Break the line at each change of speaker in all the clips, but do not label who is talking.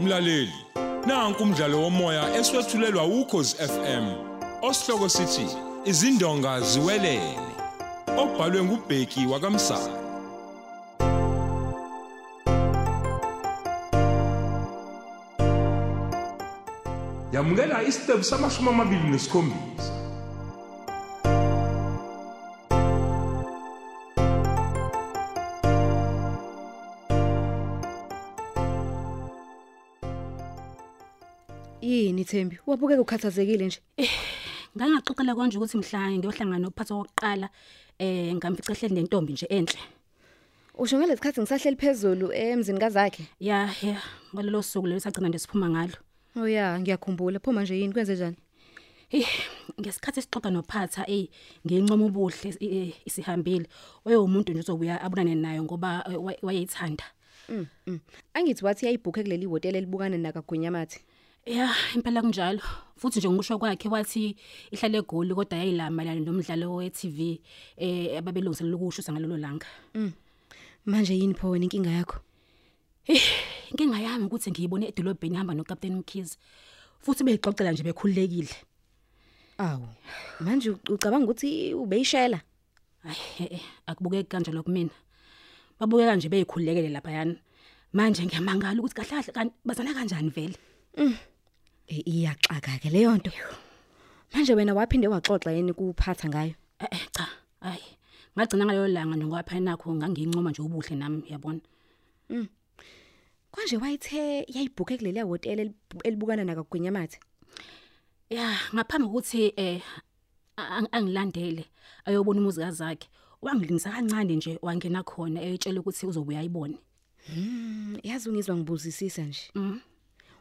Mlaleli, nanku umdlalo womoya eswetshulelwa ukhozi FM. Osihloko sithi izindonga ziwelele. Obhalwe ngubheki wakamsana. Yamukela isiqebu samashumi amabili nesikhombisa.
yini Thembi wabukeka ukhathazekile nje
Ngangaxoxela konje ukuthi mhlawumbe ngiyohlangana nophatha kokuqala eh ngamfica ehleli nentombi nje enhle.
usho ngalesi khathi ngisahleli phezulu emzini kazakhe
Ya ya ngalelo suku lelo sagcina nje siphuma ngalo.
oh ya ngiyakhumbula pho manje yini kwenze njani
Hey ngesikhathi sixoxa nophatha eh ngincoma ubuhle eh, isihambile. Oyewumuntu nje ozobuya abunane nayo ngoba eh, waye- wayeyithanda.
mm, mm. angithi wathi yayibhukhe kuleli hotela elibukana nakagunyamathi
Ya impela kunjalo. Futhi nje ngisho kwakhe wathi ihlale egoli kodwa yayilamalana nomdlalo we-TV eh ababelungiselela ukushusa ngalelo langa.
manje yini pho wena inkinga yakho
Eh, inkinga yami ukuthi ngiyibone edolobheni ihamba noCaptain Mkhize. Futhi beyixoxela nje bekhululekile.
awu manje u- ucabanga ukuthi ubeyishela
Hayi, akubukeki kanje lokumina. Babukeka nje beyikhulekele lapha yana. Manje ngiyamangala ukuthi kahle kahle kanti bazana kanjani vele?
Eh, iyaxaka ke leyo nto manje wena waphinde waxoxa yini kuphatha ngayo
Eh, eh, cha, hayi. Ngagcina ngalo langa nje ngapha nakho ngangincoma nje ubuhle nami yabona.
kanje wayithe yayibhukhe kuleli hotela elibu- elibukana nakagunyamathi
Ya, ngaphambi kokuthi eh ang- angilandele ayobona umuzi kazakhe. Wangilingisa kancane nje wangena khona eyitshela ukuthi uzobuya ayibone.
Mm, yazi ungizwa ngibuzisisa nje.
Mhm.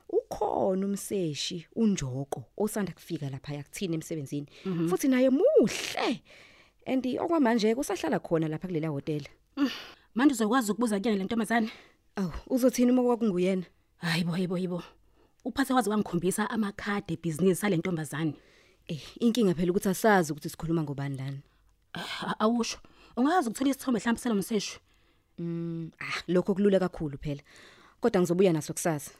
Ukhona umseshi unjoko osanda kufika lapha yakuthina emsebenzini. Futhi naye muhle. And okwamanje kusahlala khona lapha kulela hotel.
Manje uzokwazi ukubuza kuyena le ntombazane?
Aw, uzothina uma kwakunguyena?
Hayibo, hayibo, hayibo. Uphathe kwazi kwangikhombisa amakhadi ebusiness ale ntombazane.
Eh, inkinga phela ukuthi asazi ukuthi sikhuluma ngobani lana.
Ah, awusho ungazi ukuthola isithombe mhlawumbe selomseshu
Mm, ah, lokho kulula kakhulu phela. Kodwa ngizobuya naso kusasa.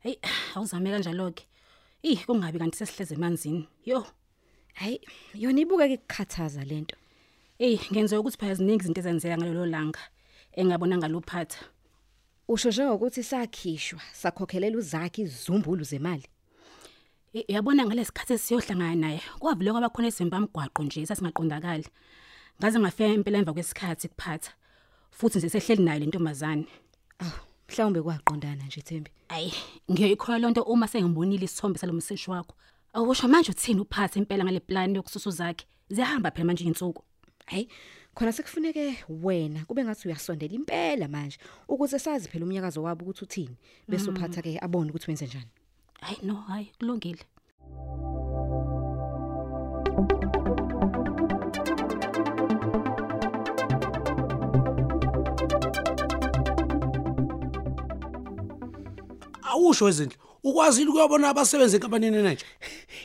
heyi awuzame kanjalo ke eyi kungabi kanti sesihleze emanzini yo
Hayi, yona ibuke ikukhathaza lento.
eyi ngenzeka ukuthi phela ziningi izinto ezenzeka ngalelo langa engabona ngalophatha
Usho njengokuthi sakhishwa, sakhokhelela uzakhe izumbulu zemali.
Eh, yabona ngalesi khathi esiyohlangana naye kwavele kwaba khona izimpamgwaqo nje sasingaqondakali ngaze ngafika impela emva kwesikhathi kuphatha futhi nje sehleli nayo le ntombazane
Aw, mhlawumbe kwaqondana nje Thembi.
hayi ngiyoyikhoya loo nto uma sengibonile isithombe salo mseshi wakho awusho manje uthini uphathe impela ngale plani yokususa zakhe ziyahamba phela manje iy'nsuku
Hayi, khona sekufuneke wena kube ngathi uyasondela impela manje ukuze sazi phela umnyakazo wabo ukuthi uthini bese uphatha ke abone ukuthi wenze njani.
hayi no hayi kulungile
awusho izinto ukwazile ukuyobona abasebenzi enkampanini enentsha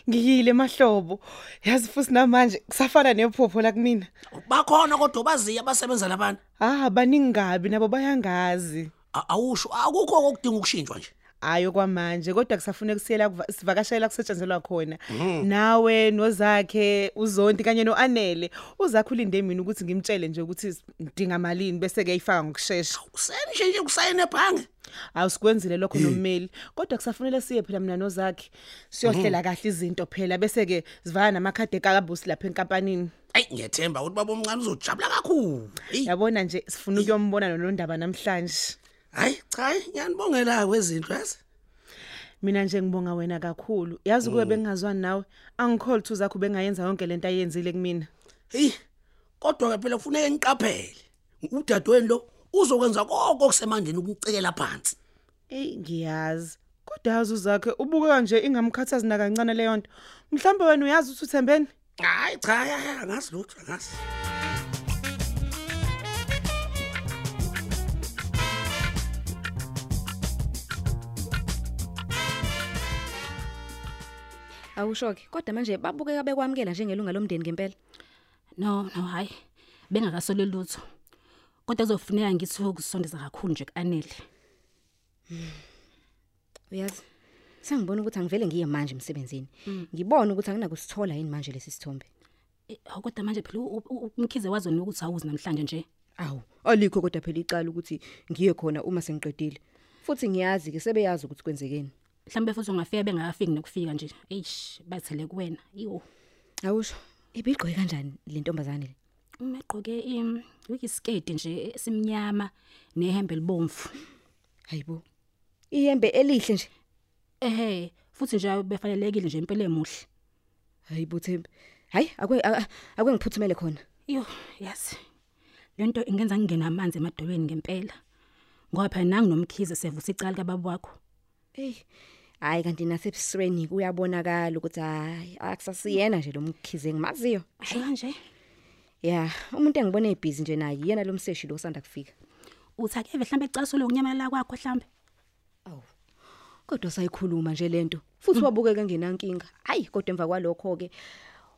ngiyile mahlobo yazi futhi namanje kusafana nephopho la kumina
bakhona kodwa baziya abasebenza labantu
ah baningabi nabo bayangazi
A- awusho akukho kokudinga ukushintshwa nje
ayo kwamanje kodwa kusafuneka siyela kuva- sivakashayela kusetshenzelwa khona nawe nozakhe uzonti kanye noanele uzakhe ulinde mina ukuthi ngimtshele nje ukuthi ndinga malini bese ke ifaka ngokusheshsha
usenishe nje kusayine ebhange
awusikwenzile lokho nommeli kodwa kusafunele siye phela mina nozakhe siyohlela kahle izinto phela bese ke sivana namakhadi ekabusi lapha enkampanini
hayi ngiyethemba ukuthi baba omncane uzojabula kakhulu Eyi,
yabona nje sifuna ukuyombona nolondaba namhlanje
hayi cha hayi ngiyanibongela kwezinto yazi
mina nje ngibonga wena kakhulu yazi kuwe bengingazwani nawe angikholi two zakho bengayenza yonke lento ayenzile kumina
heyi kodwa-ke phela kufuneke ngiqaphele udadweni lo uzokwenza koko okusemandleni ukumcekela phansi
eyi ngiyazi kodwa yazi uzakhe ubukeka nje ingamkhathazi nakancane leyo nto mhlawumbe wena uyazi ukuthi uthembeni
hayi cha hayi, hayi angazi lutho angazi
Awushoki, kodwa manje babukeka bekwamkela njengelunga lomndeni ngempela.
no no hayi bengakasole lutho kodwa kuzofuneka ngithi ukusondeza kakhulu nje ku-anele
uyazi sengibona ukuthi angivele ngiye manje emsebenzini ngibone ukuthi anginakusithola yini manje lesi sithombe
Eh, hawu, kodwa manje phela u- u- u- umkhize wazona ukuthi awuzi namhlanje nje
awu alikho kodwa phela icala ukuthi ngiye khona uma sengiqedile futhi ngiyazi ke sebeyazi ukuthi kwenzekeni
mhlawumbe futhi ungafika bengakafiki nokufika nje eish bathele kuwena iyo
awusho ibigqoke kanjani le ntombazane le
umegqoke iwikisketi nje esimnyama nehembe libomvu
hayibo iyembe elihle nje
ehe futhi nje befanelekile nje impela emuhle
hayibo Thembi hayi akwe a- akwe ngiphuthumele khona
iyo yazi lento ingenza ngingena amanzi emadolweni ngempela ngoba phela nangi nomkhize sevutha icala kababa wakho
hey hayi kanti nasebusweni kuyabonakala ukuthi hayi akusasiyena nje lo mkhize ngimaziyo
asho kanje
ya umuntu engibone ebhizi nje naye yena lo mseshi lo osanda kufika
uthi akeve mhlawumbe ecasulo kunyamalala kwakho mhlawumbe
awu kodwa sayikhuluma nje lento futhi wabukeka ngenankinga hayi kodwa emva kwalokho ke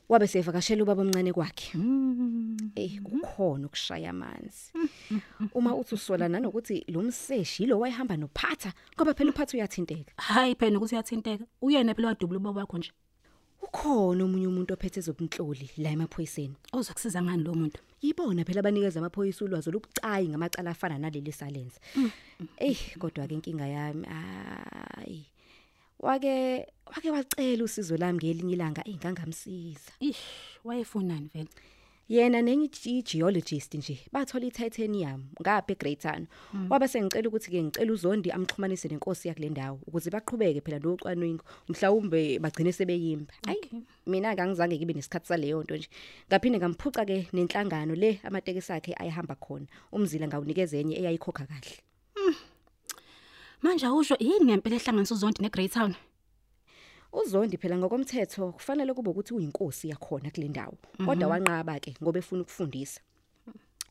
wabe sevakashela ubaba omncane kwakhe eh kukhona ukushaya amanzi uma uthi usola nanokuthi lo mseshi lo wayehamba nophatha ngoba phela uphatha uyathinteka
hayi phela ukuthi uyathinteka uyena phela wadubula ubaba wakho nje
ukhona omunye umuntu ophethe ezobunhloli la emaphoyiseni
ozokusiza ngani lo muntu
yibona phela abanikeza amaphoyisa ulwazi olubucayi ngamacala afana naleli salenza eyi kodwa-ke inkinga yami hayi wake wake wacela usizo lami ngelinye ilanga eyi ngangamsiza
ish wayefunani vele
yena nenye i- i-geologist nje bathola i-titanium ngapha egreatan wabe sengicela ukuthi-ke ngicela uzondi amxhumanise nenkosi yakule ndawo ukuze baqhubeke phela nocwaningo mhlawumbe bagcine sebeyimba hayi mina-ke angizange ngibe nesikhathi saleyo nto nje ngaphinde ngamphuca-ke nenhlangano le amatekisi akhe ayahamba khona umzila ngawunikeza enye eyayikhokha kahle
manje awusho yini ngempela ehlanganisa uzonke neGreat Town
uzondi phela ngokomthetho kufanele kube ukuthi uyinkosi yakhona kule ndawo kodwa wanqaba-ke ngoba efuna ukufundisa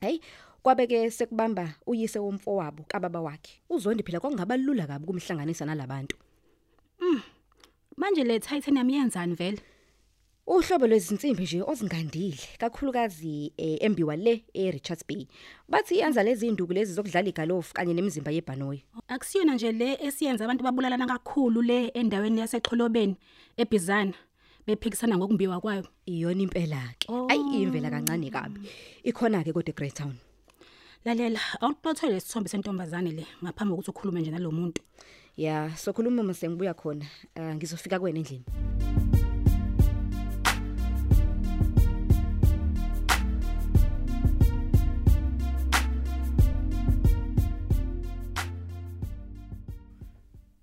hayi kwabe-ke sekubamba uyise womfo wabo kababa wakhe uzondi phela kwakungaba lula kabi ukumhlanganisa nalabantu
manje le Titanium yenzani vele
uhlobo lwezinsimbi nje ozingandile kakhulukazi eh, embiwa le e-richards bay bathi iyenza lezi nduku lezi zokudlala igalofu kanye nemizimba yebhanoyi
akusiyona nje le esiyenza abantu babulalana kakhulu le endaweni yasexholobeni ebizana bephikisana ngokumbiwa kwayo
iyona impela-ke ayi imvela kancane kabi ikhona-ke kodwa e-grey town
lalela awuqothele lesithombe sentombazane le ngaphambi kokuthi ukhulume nje nalo muntu
ya sokhuluma uma sengibuya khona uh, ngizofika kuwena endlini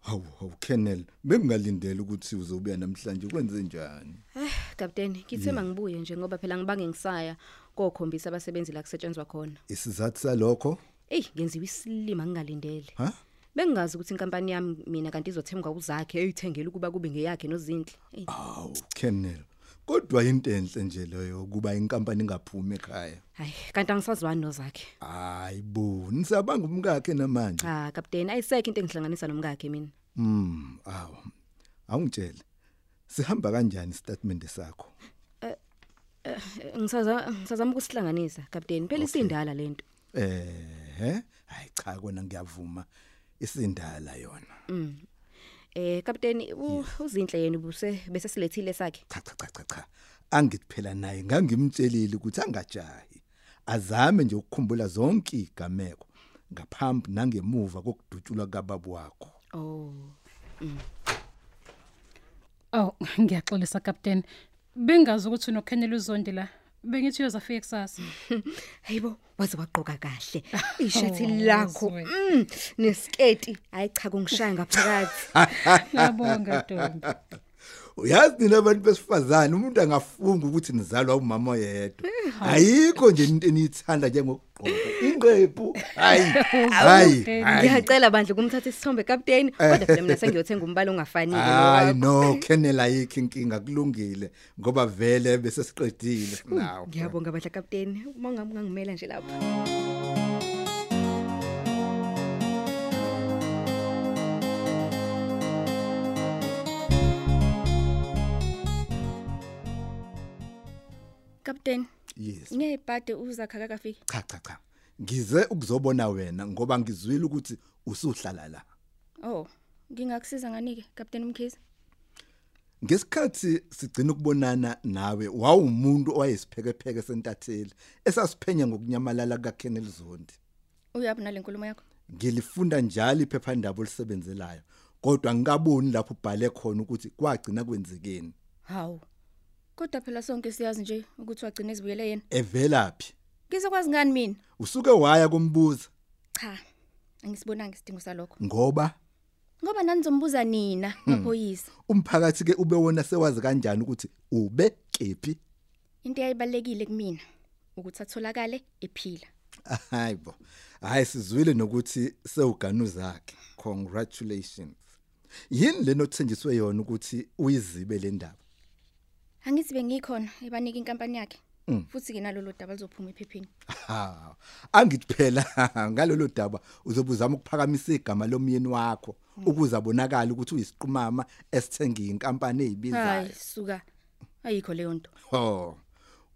hawu hawu kennel bengingalindele ukuthi uzobuya namhlanje kwenze njani
Eh, Kapteni, ngithema ngibuye nje ngoba phela ngibange ngisaya kokhombisa abasebenzi la kusetshenzwa khona.
isizathu salokho
Ey, ngenziwe isilima ngingalindele.
ha
Bengingazi ukuthi inkampani yami mina kanti izothemka uzakhe eyithengele ukuba kube ngeyakhe nozinhle. Ey,
awu kennel kodwa into enhle nje leyo kuba inkampani ingaphumi ekhaya
hayi, kanti angisazwani nozakhe.
hayi bo nisabanga umkakhe namanje
Cha, kapteni, Ah, ayisekho into engihlanganisa nomkakhe mina.
mm awu awungitshele sihamba kanjani statement sakho
Eh, Ngisaza ngisazama ukusihlanganisa, kapteni. Phela isindala lento.
ehhe hayi cha kona ngiyavuma isindala yona
Eh, kapteni, u- uzinhle yena ubuse bese silethile sakhe.
cha cha cha cha cha angithi phela naye ngangimtshelile ukuthi angajahi azame nje ukukhumbula zonke igameko ngaphambi nangemuva kokudutshulwa kababa wakho
Oh.
Aw, Oh, ngiyaxolisa captain. Bengazi ukuthi unokhenela uzondi la. Bengithi uyozafika kusasa.
Hayibo, waze wagqoka kahle. Ishethi
Oh,
lakho
sweet.
mm, nesketi. Hayi cha kungishaya ngaphakathi.
Ngiyabonga Ntombi.
uyazi nina abantu besifazane umuntu angafunga ukuthi nizalwa umama yedwa ayikho nje into eniyithanda njengokugqoka inqephu hayi hayi hayi
Ngiyacela bandle kumthatha isithombe captain, kodwa phela mina sengiyothenga umbala ongafanile
hayi
nowakho.
no kennel ayikho inkinga kulungile ngoba vele bese siqedile nawo
Ngiyabonga badla captain, uma ungabe ungangimela nje lapha.
Kapteni,
yes
ngiyayibhade uzakha kakafiki.
cha cha cha ngize ukuzobona wena ngoba ngizwile ukuthi usuhlala la
Oh, ngingakusiza nganike Captain Mkhize
Ngesikhathi sigcina ukubonana nawe wawumuntu owayesiphekepheke sentatheli esasiphenya ngokunyamalala kaKenneth Zondi.
uyaphi nale nkulumo yakho
Ngilifunda njalo iphephandaba olisebenzelayo kodwa ngikaboni lapho ubhale khona ukuthi kwagcina kwenzekeni.
hawu kodwa phela sonke siyazi nje ukuthi wagcina ezibuyele yena
Evelaphi?
ngizokwazi ngani mina
Usuke waya kumbuza
cha angisibonanga isidingo salokho
ngoba
ngoba nani zombuza nina maphoyisa
umphakathi ke ube wona sewazi kanjani ukuthi ube kephi?
into eyayibalekile kumina ukuthi atholakale ephila
Hayibo. Hayi sizwile nokuthi sewuganu zakhe. Congratulations. Yini leno thenjiswe yona ukuthi uyizibe le ndaba?
angithi bengikhona ebanika inkampani yakhe futhi ke nalolo daba lizophuma ephepheni
Ha. Angiphela ngalolu daba uzobuzama ukuphakamisa igama lomyeni wakho ukuze abonakale ukuthi uyisiqumama esithenga inkampani ezibizayo.
hayi suka ayikho leyo nto
Ho.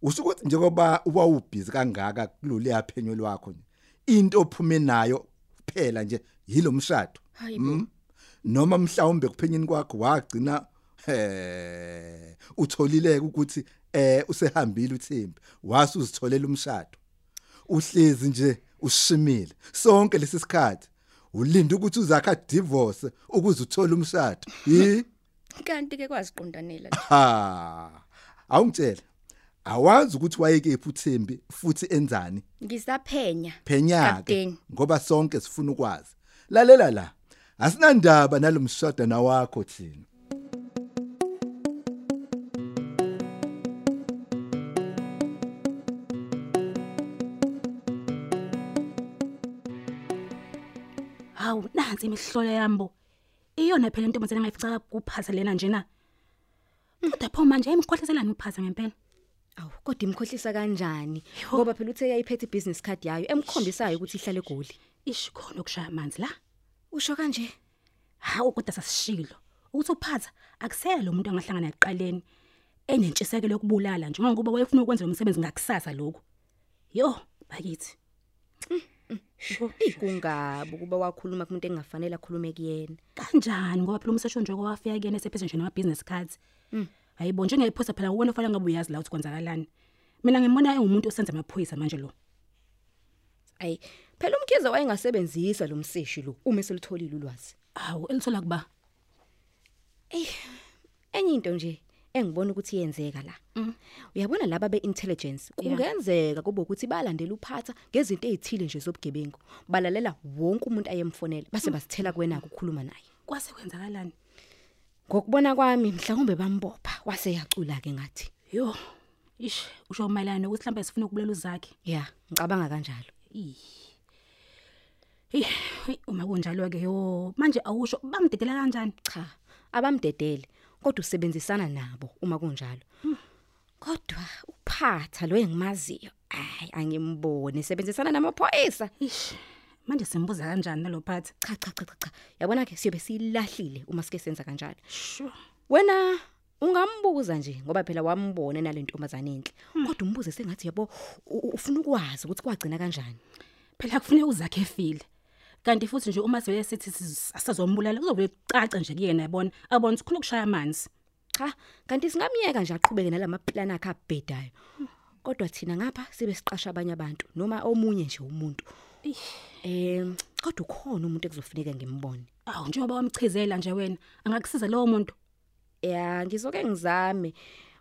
Usukuthi njengoba uba ubhizi kangaka kulolu yaphenyo lwakho nje. Into ophume nayo kuphela nje yilomshado.
hayi bo
Mm. noma mhlawumbe kuphenyini kwakho wagcina eh utholileke ukuthi eh usehambile uThembi wase uzitholela umshado uhlezi nje ushimile sonke lesisikhathi ulinde ukuthi uzakha divorce ukuze uthole umshado yi
kanti ke kwaziqondanela nje
ha awungitshela awazi ukuthi wayekephi uThembi futhi enzani
ngisaphenya
phenyake
Kapteni.
ngoba sonke sifuna ukwazi lalela la asinandaba nalomshado nawakho thina
Hawu nansi imihlolo yambo. Iyona phela into mthana ngayifica kuphatha lena njena. Kodwa pho manje ayimkhohliselani uphatha ngempela.
Awu kodwa imkhohlisa kanjani ngoba phela uthe yayiphethe ibusiness card yayo emkhombisayo ukuthi ihlale egoli.
Ishi khona ukushaya amanzi la.
Usho kanje?
Hawu kodwa sasishilo. Ukuthi uphatha akusela lo muntu angahlangana ekuqaleni. Enentshisekelo yokubulala nje ngoba wayefuna ukwenza lo msebenzi ngakusasa lokho. Yo, bakithi. Sho,
Kungabi kuba wakhuluma kumuntu engafanele akhulume kuyena.
kanjani ngoba phela umsesho nje kwafika kuyena esephethe nje nama business cards. Hayibo njengeyiphosa phela ukwena ufanele ngabe uyazi la ukuthi kwenzakalani. Mina ngimona engumuntu osenza amaphoyisa manje lo.
Ayi phela umkhize wayengasebenzisa lo mseshi lo uma eselitholile ulwazi.
Awu elithola kuba
Enye into nje engibona ukuthi iyenzeka la. Uyabona laba beintelligence kungenzeka kube ukuthi balandela uphatha ngezinto ezithile nje zobugebengu. Balalela wonke umuntu ayemfonela base basithela kuwena ukukhuluma naye.
kwase kwenzakalani?
Ngokubona kwami mhlawumbe bambopha wase yacula ke ngathi.
Yo, ish usho malana ukuthi mhlawumbe sifuna ukubulela uzakhe.
Yeah, ngicabanga kanjalo.
Hey, hey, uma kunjalo ke yo, manje awusho bamdedela kanjani?
Cha, abamdedele kodwa usebenzisana nabo uma kunjalo. Kodwa uphatha lo engimaziyo, ayi angimboni sebenzisana namaphoyisa.
Ish, manje simbuza kanjani nalophatha?
Cha cha cha cha, cha. Yabona ke siyobe silahlile uma sike senza kanjalo.
Sho,
Wena ungambuza nje ngoba phela wambone nalentombazana enhle. Kodwa umbuze sengathi yabo u- u- ufuna ukwazi ukuthi kwagcina kanjani.
phela kufuneka uzakhe efile. Kanti futhi nje uma sivele sithi siz- sasazombulala kuzobe caca nje kuyena yabona, abona ukuthi khona ukushaya amanzi.
Cha, kanti singamiyeka nje aqhubeke nalama plan akhe abhedayo. Kodwa thina ngapha sibe siqasha abanye abantu noma omunye nje umuntu. Eh, kodwa ukhona umuntu ekuzofuneka ngimbone.
Awu njengoba wamchizela nje wena, angakusiza lowo muntu.
Ya, ngizoke ngizame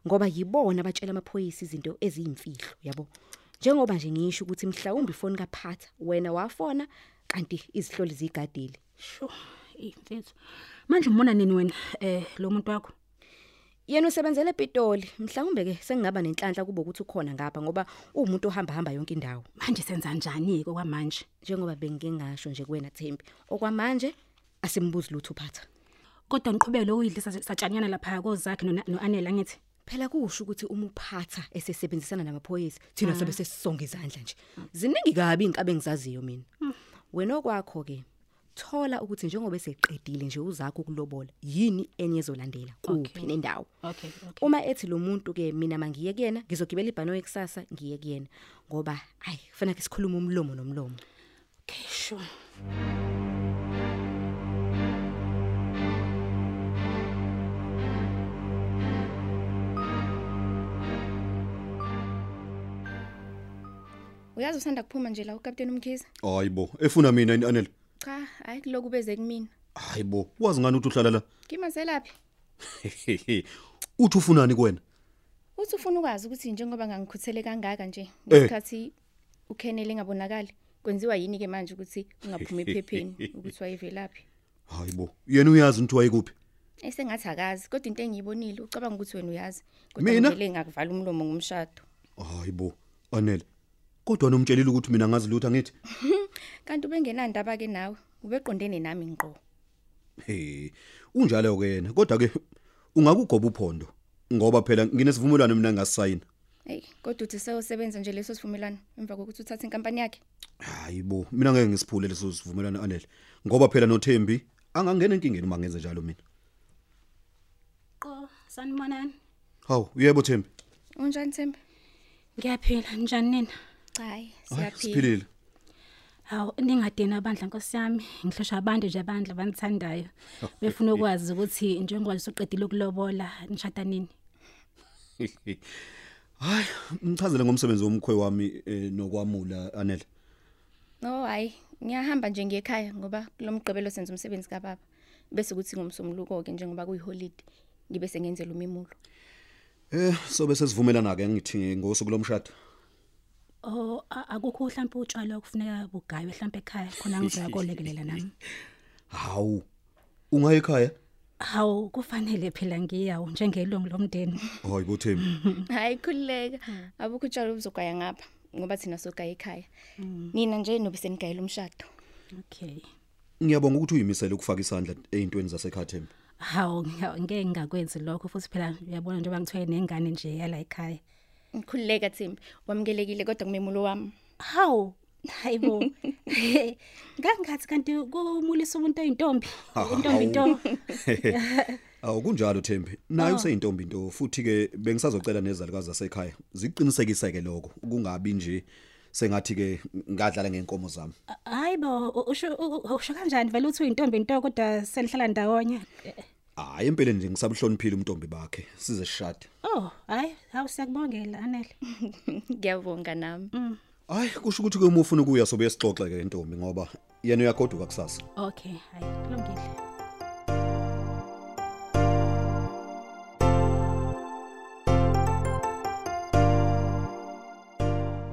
ngoba yibona abatshela amaphoyisa izinto eziyimfihlo, yabo. Njengoba nje ngisho ukuthi mhlawumbe ifoni kaphatha, wena wafona kanti izihloli zigadile.
Sho, imfethu. Manje umbona nini wena eh lo muntu wakho?
Yena usebenzele ePitoli, mhlawumbe ke sengingaba nenhlanhla kube ukuthi ukhona ngapha ngoba umuntu ohamba hamba yonke indawo.
Manje senza kanjani ke kwamanje?
njengoba bengingasho nje kuwena Thembi okwamanje asimbuzi lutho uphatha
Kodwa ngiqhubeke lo uyidlisa satshanyana lapha kozakhe no noanela ngithi.
phela kusho ukuthi uma uphatha esesebenzisana namaphoyisa
Ah.
thina sobe sesisonga izandla nje ziningi kabi inkabe engizaziyo mina
Hmm.
wena okwakho ke thola ukuthi njengoba eseqedile nje uzakho ukulobola yini enye ezolandela kuphi
Okay.
nendawo
Okay, okay.
uma ethi lo muntu ke mina mangiye kuyena ngizogibela ibhanoyi kusasa ngiye kuyena ngoba ayi kufanele ke sikhulume umlomo nomlomo
Okay, sure.
uyazi usanda kuphuma nje la ukapteni umkhize
hayibo efuna mina yini anele
cha hayi kuloku beze kumina
hayibo wazi ngani ukuthi uhlala la
ngimazelaphi
uthi ufunani kuwena
uthi ufuna ukwazi ukuthi njengoba ngangikhuthele kangaka nje
Eh.
ngesikhathi ukhenele engabonakali kwenziwa yini ke manje ukuthi ungaphuma ephepheni ukuthi wayevelaphi
hayibo yena uyazi ukuthi wayekuphi
esengathi akazi kodwa into engiyibonile ucabanga ukuthi wena uyazi
Mina?
kodwa ngivele ngakuvala umlomo ngomshado
hayibo anele kodwa nomtshelile ukuthi mina ngazi lutho angithi
kanti ubengenandaba ke nawe ubeqondene nami ngqo
he unjalo ke yena kodwa ke ungakugoba uphondo ngoba phela nginesivumelwano mina ngasayina
eyi kodwa uthi seyosebenza nje leso sivumelwano emva kokuthi uthathe inkampani yakhe
hayibo mina ngeke ngisiphule leso sivumelwano anele ngoba phela noThembi angangena enkingeni uma ngenze njalo mina
Qo sanimonani.
hawu yebo Thembi
unjani thembe
Ngiyaphila njani nina?
hayi
Hayi,
siyaphila
Hawu ningadena abandla Nkosi yami, ngihloshwa abantu nje abandla abangithandayo. Befuna ukwazi ukuthi njengoba usuqedile ukulobola nishada nini?
hayi ngichazele ngomsebenzi womkhwe wami eh, nokwamula anele
no hayi ngiyahamba nje ngekhaya ngoba kulomgqibelo senza umsebenzi kababa bese kuthi ngomsombuluko ke njengoba kuyiholide ngibe sengenzela umemulo
eh so bese sivumelana ke ngithi ngosuku lomshado
Oh a- akukho mhlawumbe utshwala okufuneka bugaywe mhlawumbe ekhaya khona ngizoya kolekelela nami.
hawu ungaye ekhaya
Hawu kufanele phela ngiyawo njengelungu lomndeni.
hayibo Thembi
hayi khululeka
Hmm.
abukho utshalo obuzogaya ngapha ngoba thina sogaya ekhaya nina nje nobe senigayela umshado
Okay.
ngiyabonga ukuthi uyimisele ukufaka isandla eintweni zasekhaya Thembi
Hawu ngiya- ngeke ngakwenzi lokho futhi phela uyabona njengoba ngithwele nengane nje yala ekhaya.
ngikhululeka thimbi wamukelekile kodwa kumemulo wami
Hawu hayibo. Ngangathi kanti kumulisa umuntu oyintombi, intombi into.
Awu kunjalo Thembi naye useyintombi into futhi ke bengisazocela nezalukazi zasekhaya ziqinisekise ke lokho kungabi nje sengathi ke ngadlala ngenkomo zami
Hayibo usho u- u- usho kanjani vele uthi uyintombi into kodwa senihlala ndawonye.
hayi empeleni nje ngisabuhloniphile umntombi bakhe size sishade
Oh hayi hawu siyakubongela anele.
ngiyabonga nami
hayi kusho ukuthi ke uma ufuna ukuya sobe sixoxe ke intombi ngoba yena uyagoduka kusasa
Okay hayi kulungile.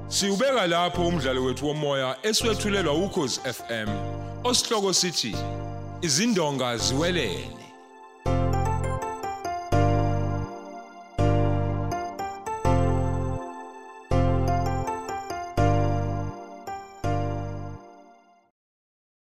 Siubeka lapho umdlalo wethu womoya eswetshulelwa ukhozi FM. Osihloko sithi izindonga ziwelele.